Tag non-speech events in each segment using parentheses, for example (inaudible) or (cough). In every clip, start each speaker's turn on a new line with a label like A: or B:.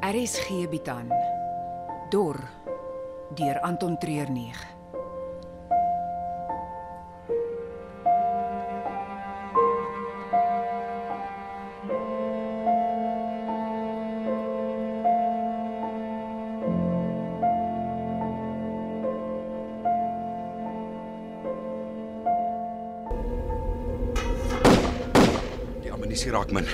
A: RSG bied aan Dor deur Anton Treuer 9.
B: Die ammunisie raak min.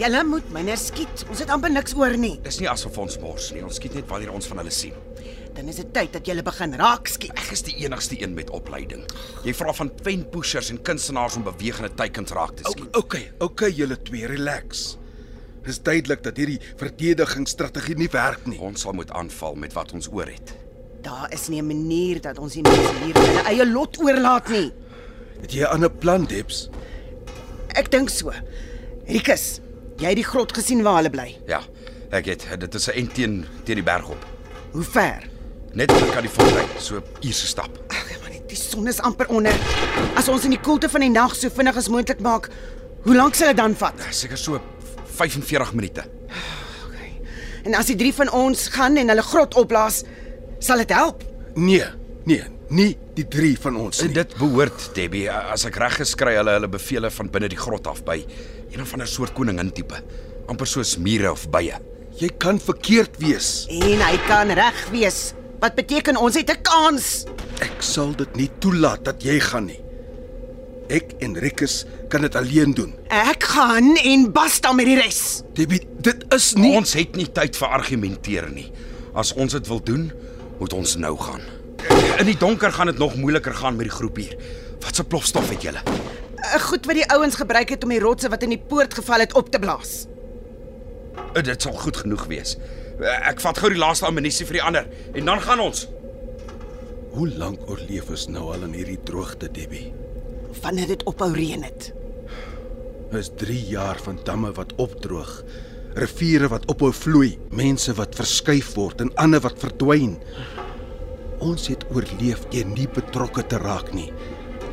C: Julle moet minder skiet. Ons het amper niks oor nie.
B: Dis nie asof ons mors nie. Ons skiet net wanneer ons van hulle sien.
C: Dan is dit tyd dat julle begin raak skiet.
B: Ek is die enigste een met opleiding. Jy vra van pen pushers en kunstenaars om bewegende teikens raak te skiet.
D: Okay, okay julle twee, relax. Dis duidelik dat hierdie verdedigingsstrategie nie werk nie.
B: Ons sal moet aanval met wat ons oor het.
C: Daar is nie 'n manier dat ons die mense hier hulle eie lot oorlaat nie.
D: Het jy 'n ander plan, Debs?
C: Ek dink so. Rikus, jy het die grot gesien waar hulle bly.
B: Ja, ek het dit is 'n end teen teen die berg op.
C: Hoe ver?
B: Net oor kan die fontein so uur se stap.
C: Ag man, die son is amper onder. As ons in die koelte van die nag so vinnig as moontlik maak, hoe lank sal dit dan vat?
B: Seker so 45 minute.
C: Okay. En as die drie van ons gaan en hulle grot opblaas, sal dit help.
D: Nee, nee, nie die drie van ons
B: En
D: nie.
B: dit behoort Debbie, as ek reg geskry hulle hulle bevele van binne die grot af by een of ander soort koningin tipe. amper soos mure of bye.
D: Jy kan verkeerd wees.
C: En hy kan reg wees. Wat beteken ons het 'n kans?
D: Ek sal dit nie toelaat dat jy gaan nie. Ek en Rikus kan dit alleen doen.
C: Ek gaan en basta met die res.
D: Debbie, dit is
B: Nee.
D: nie
B: Ons het nie tyd vir argumenteer nie. As ons dit wil doen, moet ons nou gaan. In die donker gaan dit nog moeiliker gaan met die groep hier. Wat se plofstof het julle?
C: 'n Eh, Goed wat die ouens gebruik het om die rotse wat in die poort geval het op te blaas.
B: Eh, Dit sal goed genoeg wees. Eh, Ek vat gou die laaste ammunisie vir die ander en dan gaan ons.
D: Hoe lank oorleef ons nou al in hierdie droogte, Debbie?
C: Wanneer dit ophou reën het.
D: Is 3 jaar van damme wat opdroog, riviere wat ophou vloei, mense wat verskuif word en ander wat verdwyn. Ons het oorleef deur nie betrokke te raak nie,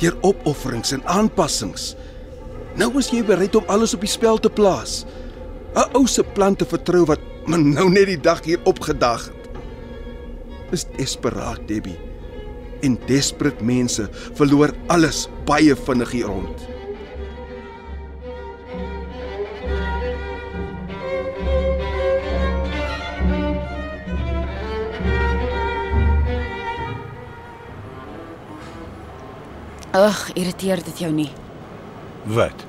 D: deur opofferings en aanpassings. Nou is jy bereid om alles op die spel te plaas. 'n Ou se plan te vertrou wat maar nou net die dag hier opgedag het. Dis desperaat, Debbie. En desperate mense verloor alles baie vinnig hier rond.
E: Ag, irriteer dit jou nie.
F: Wat?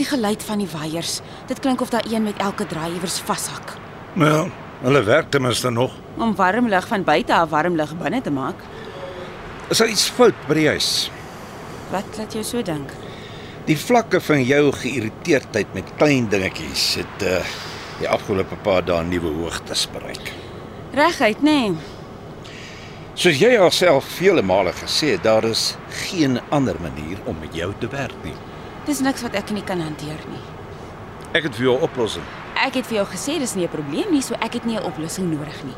E: Die geluid van die waiers. Dit klink of daar een met elke draai iewers vashak.
F: Wel, Nou ja, hulle werk ten minste nog.
E: Om warm lug van buite af warm lug binne te maak.
F: Is daar iets fout by die huis?
E: Wat laat jou so dink?
F: Die vlakke van jou geïrriteerdheid met klein dingetjies het uh die afgelope paar dae nuwe hoogtes bereik.
E: Reguit, nê? Nee.
F: Soos jy alself vele male gesê het, daar is geen ander manier om met jou te werk nie.
E: Dis niks wat ek nie kan hanteer nie.
F: Ek het vir jou 'n oplossing.
E: Ek het vir jou gesê dis nie 'n probleem nie, so ek het nie 'n oplossing nodig nie.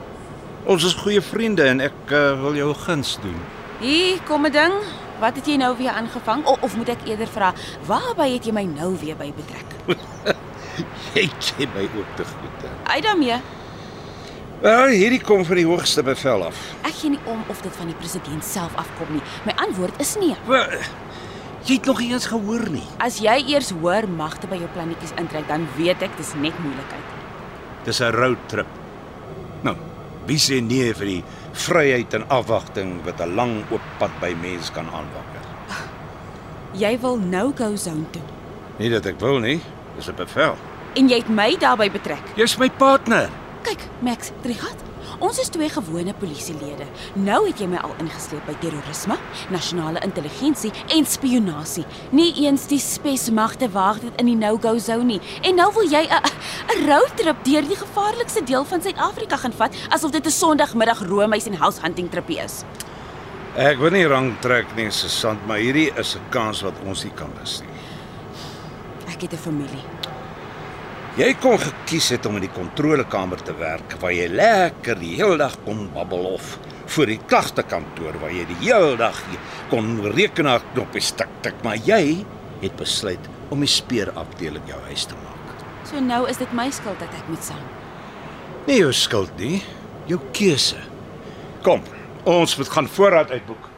F: Ons is goeie vriende en ek uh, wil jou guns doen.
E: Hier, kom 'n ding. Wat het jy nou weer aangevang? O, of moet ek eerder vra, waarby het jy my nou weer by betrek?
F: (laughs) Jy ken my ook te goed. hè.
E: Uit daarmee.
F: Wel, hierdie kom van die hoogste bevel af.
E: Ek gee nie om of dit van die president self afkom nie. My antwoord is nee.
F: Wel, jy het nog nie eens gehoor nie.
E: As jy eers hoor magte by jou plannetjies intrek, dan weet ek dis net moeilikheid.
F: Dis 'n roadtrip. Nou, wie sê nee vir die vryheid en afwagting wat 'n lang oop pad by mens kan aanwakker?
E: Jy wil nou go zone toe
F: Nie dat ek wil nie, dis 'n bevel.
E: en jy het my daarbey betrek.
F: Jy's my partner.
E: Kyk, Max Trigat, ons is twee gewone polisielede. Nou het jy my al ingesleep by terrorisme, nasionale intelligensie en spionasie. Nie eens die spesmagte waag dit in die no-go zone nie. En nou wil jy 'n 'n roadtrip deur die gevaarlikste deel van Suid-Afrika gaan vat, asof dit 'n Sondagmiddag roomys en house hunting tripie is.
F: Ek wil nie rang trek nie, Susan, maar hierdie is 'n kans wat ons nie kan mis nie.
E: Ek het 'n familie.
F: Jy kon gekies het om in die kontrolekamer te werk waar jy lekker die hele dag kon babbel of voor die klagtekantoor waar jy die hele dag jy kon rekenaar knoppies tik tik, maar jy het besluit om die speerafdeling jou huis te maak.
E: So nou is dit my skuld dat ek moet saam.
G: Nie jou skuld nie, jou keuse.
F: Kom, ons moet gaan voorraad uitboek.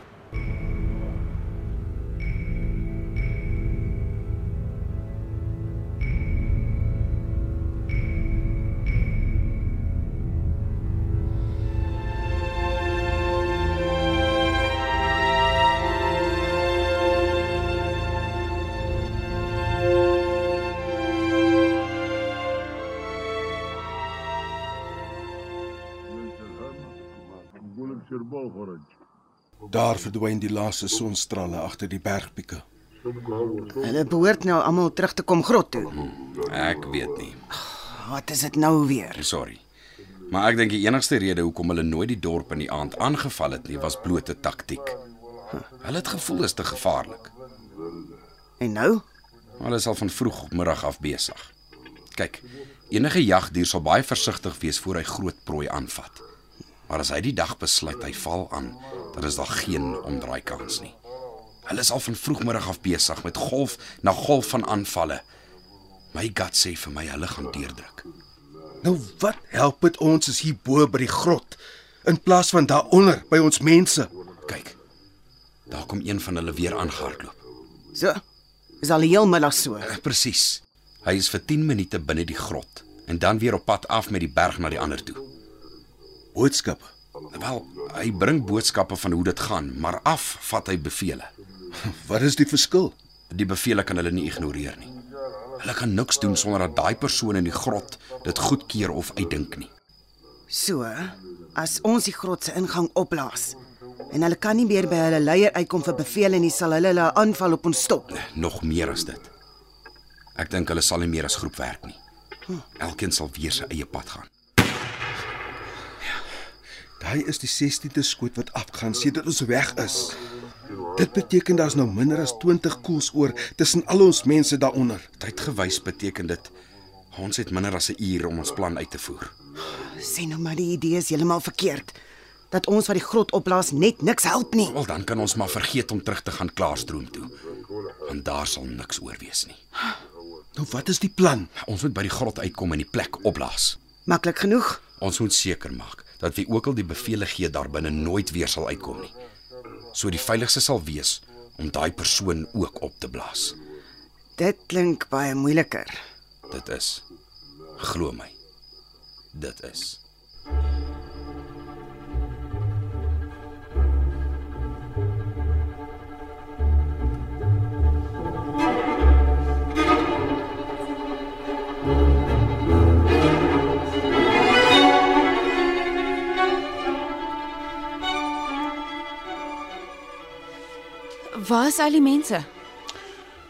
D: Daar verdwyn die laaste sonstrale agter die bergpieke.
C: Hulle behoort nou almal terug te kom grot toe.
B: Ek weet nie.
C: Wat is dit nou weer?
B: Sorry. Maar ek dink die enigste rede hoekom hulle nooit die dorp in die aand aangeval het nie, was blote taktiek. Hulle het gevoel dit is te gevaarlik.
C: En nou?
B: Hulle is al van vroegmiddag af besig. Kyk, enige jagdier sal baie versigtig wees voor hy groot prooi aanvat. Maar as hy die dag besluit hy val aan, dan is daar geen omdraai kans nie. Hulle is al van vroegmiddag af besig met golf na golf van aanvalle. My gut sê vir my hulle gaan deurdruk.
D: Nou wat help dit ons as hier bo by die grot in plaas van daaronder by ons mense?
B: Kyk. Daar kom een van hulle weer aangehardloop.
C: So. Is al die heel middag so.
B: Presies. Hy is vir 10 minute binne die grot en dan weer op pad af met die berg na die ander toe.
D: Boodskappe.
B: Wel, hy bring boodskappe van hoe dit gaan, maar af vat hy bevele.
D: (laughs) Wat is die verskil?
B: Die bevele kan hulle nie ignoreer nie. Hulle kan niks doen sonder dat daai persoon in die grot dit goedkeur of uitdink nie.
C: So, as ons die grot se ingang opblaas en hulle kan nie meer by hulle leier uitkom vir bevele nie, sal hulle hulle aanval op ons stop.
B: Nog meer as dit. Ek dink hulle sal nie meer as groep werk nie. Elkeen sal weer sy eie pad gaan.
D: Daai is die 16de skoot wat afgaan sedert ons weg is. Dit beteken daar's nou minder as 20 koels oor tussen al ons mense daaronder.
B: Tydgewys beteken dit ons het minder as 'n uur om ons plan uit te voer.
C: Sê nou maar die idee is heeltemal verkeerd. Dat ons wat die grot opblaas net niks help nie.
B: Wel dan kan ons maar vergeet om terug te gaan Klaarstroom toe. Want daar sal niks oor wees nie.
D: Nou wat is die plan?
B: Ons moet by die grot uitkom en die plek opblaas.
C: Maklik genoeg.
B: Ons moet seker maak dat wie ook al die bevele gee daar binne nooit weer sal uitkom nie. So die veiligste sal wees om daai persoon ook op te blaas.
C: Dit klink baie moeiliker.
B: Dit is glo my. Dit is
E: Waar is al die mense?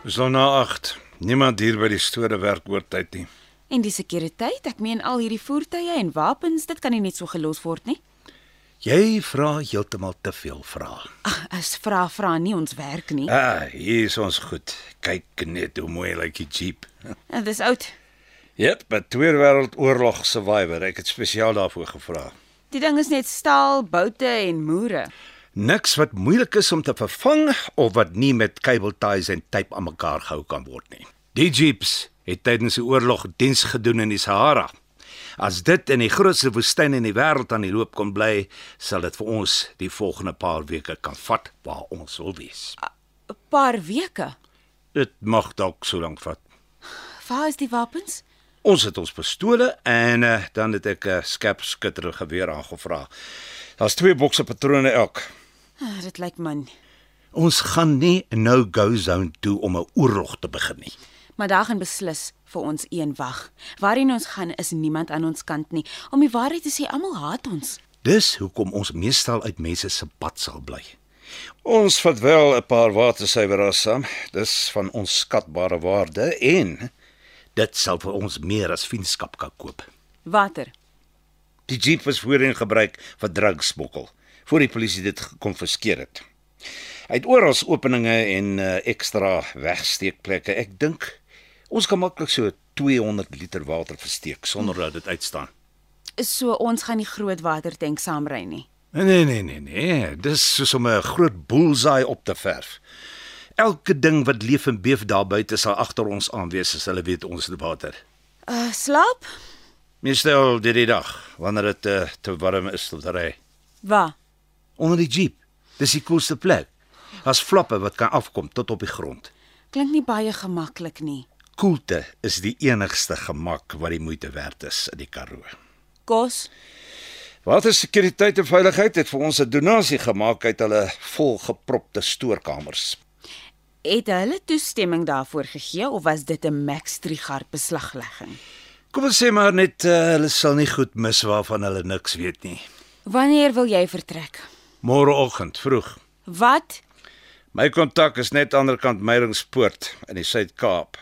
F: Dis al na 8. Niemand hier by die store werk oortyd nie.
E: En die sekuriteit, ek meen al hierdie voertuie en wapens, dit kan nie net so gelos word nie.
F: Jy vra heeltemal te veel vrae.
E: Ag, Ah, as vra vra nie ons werk nie.
F: Ah, hier is ons goed. Kyk net hoe mooi lyk die Jeep.
E: Uh, dis oud.
F: Jep, by Tweede Wêreldoorlog survivor. Ek het spesiaal daarvoor gevra.
E: Die ding is net staal, boute en moere.
F: Niks wat moeilik is om te vervang of wat nie met cable ties en tape aan mekaar gehou kan word nie. Die jeeps het tydens die oorlog diens gedoen in die Sahara. As dit in die grootste woestyn in die wêreld aan die loop kon bly, sal dit vir ons die volgende paar weke kan vat waar ons wil wees.
E: 'n Paar weke.
F: Dit mag dalk so lank vat.
E: Waar is die wapens?
F: Ons het ons pistole en uh, dan het ek 'n uh, skerp skutter geweer aangevra. Daar's twee bokse patrone elk.
E: Uh, dit lyk man.
F: Ons gaan nie 'n no-go zone toe om 'n oorlog te begin nie.
E: Maar daar gaan beslis vir ons een wag. Waarheen ons gaan is niemand aan ons kant nie. Om die waarheid te sê, almal haat ons.
F: Dis hoekom ons meestal uit mense se pad sal bly. Ons vat wel 'n paar watersuiweraars saam. Dis van onskatbare waarde en dit sal vir ons meer as vriendskap kan koop.
E: Water.
F: Die jeep was voorheen gebruik vir drugsmokkel voor die polisie dit gekonfiskeer het. Hy het oral openinge en uh, ekstra wegsteekplekke. Ek dink ons kan maklik so 200 liter water versteek sonder dat dit uitstaan.
E: So ons gaan die groot watertank saamry nie.
F: Nee nee nee nee, dis soos om 'n groot boelsaai op te verf. Elke ding wat leef en beef daar buite sal agter ons aan wees as hulle weet ons het water.
E: Uh Eh, slaap?
F: Mens stel dit die dag wanneer dit uh, te warm is om te ry.
E: Waar?
F: Onder die jeep. Dis die koelste plek. Daar's flappe wat kan afkom tot op die grond.
E: Klink nie baie gemaklik nie.
F: Koelte is die enigste gemak wat die moeite werd is in die Karoo.
E: Kos,
F: Watersekuriteit en veiligheid het vir ons 'n donasie gemaak uit hulle volgepropte stoorkamers.
E: het hulle toestemming daarvoor gegee of was dit 'n Max Trigard beslaglegging?
F: Kom ons sê maar net uh, hulle sal nie goed mis waarvan hulle niks weet nie.
E: Wanneer wil jy vertrek?
F: Môreoggend vroeg.
E: Wat?
F: My kontak is net aan die ander kant Meyringspoort in die Suid-Kaap.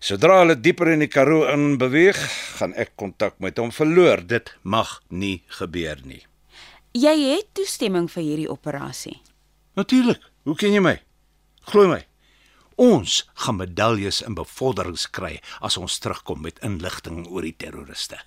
F: Sodra hulle dieper in die Karoo in beweeg, gaan ek kontak met hom verloor. Dit mag nie gebeur nie.
E: Jy het toestemming vir hierdie operasie.
F: Natuurlik. Hoe ken jy my? Glo my.
G: Ons gaan medaljes en bevorderings kry as ons terugkom met inligting oor die terroriste.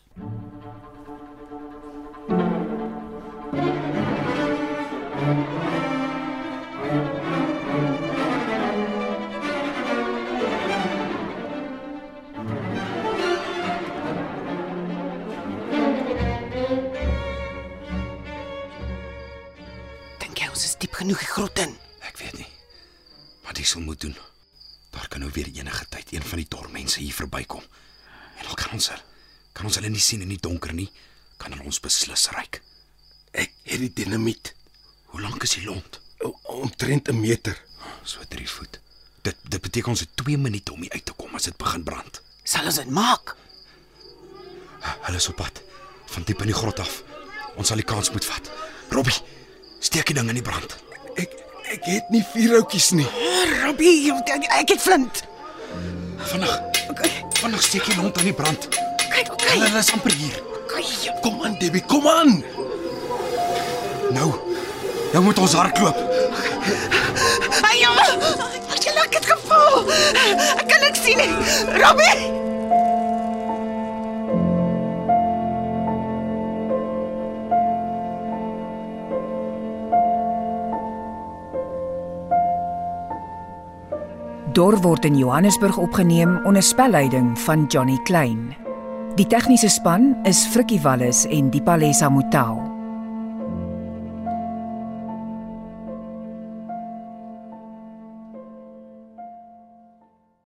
C: Dink jy ons is diep genoeg die grot in?
B: Ek weet nie. Wat ek sou moet doen. Daar kan nou weer enige tyd een van die dormense hier verbykom. En al kan ons hulle kan ons hulle nie sien in die donker nie, kan hulle ons beslis ryk.
D: Ek het die dinamiet
B: Hoe lank is die lont?
D: o- omtrent 'n meter.
B: So 3 voet. Dit dit beteken ons het 2 minute om hier uit te kom as dit begin brand.
C: Sal ons dit maak?
B: Hulle is op pad van diep in die grot af. Ons sal die kans moet vat. Robbie, steek die ding in die brand.
D: Ek ek het nie vuurhoutjies nie.
C: Robbie, ek ek het flint.
B: Vinnig. Vinnig steek die lont aan die brand.
C: Kyk,
B: Hulle
C: okay.
B: hulle is amper hier.
D: Kom aan Debbie, kom aan.
B: Nou. Nou moet ons hardloop.
C: Ai, ja. Ek het lekker gevoel. Ek kan niks sien nie. Robbie.
A: Dor word in Johannesburg opgeneem onder spelleiding van Johnny Klein. Die tegniese span is Frikkie Wallis en Dipalesa Motelo.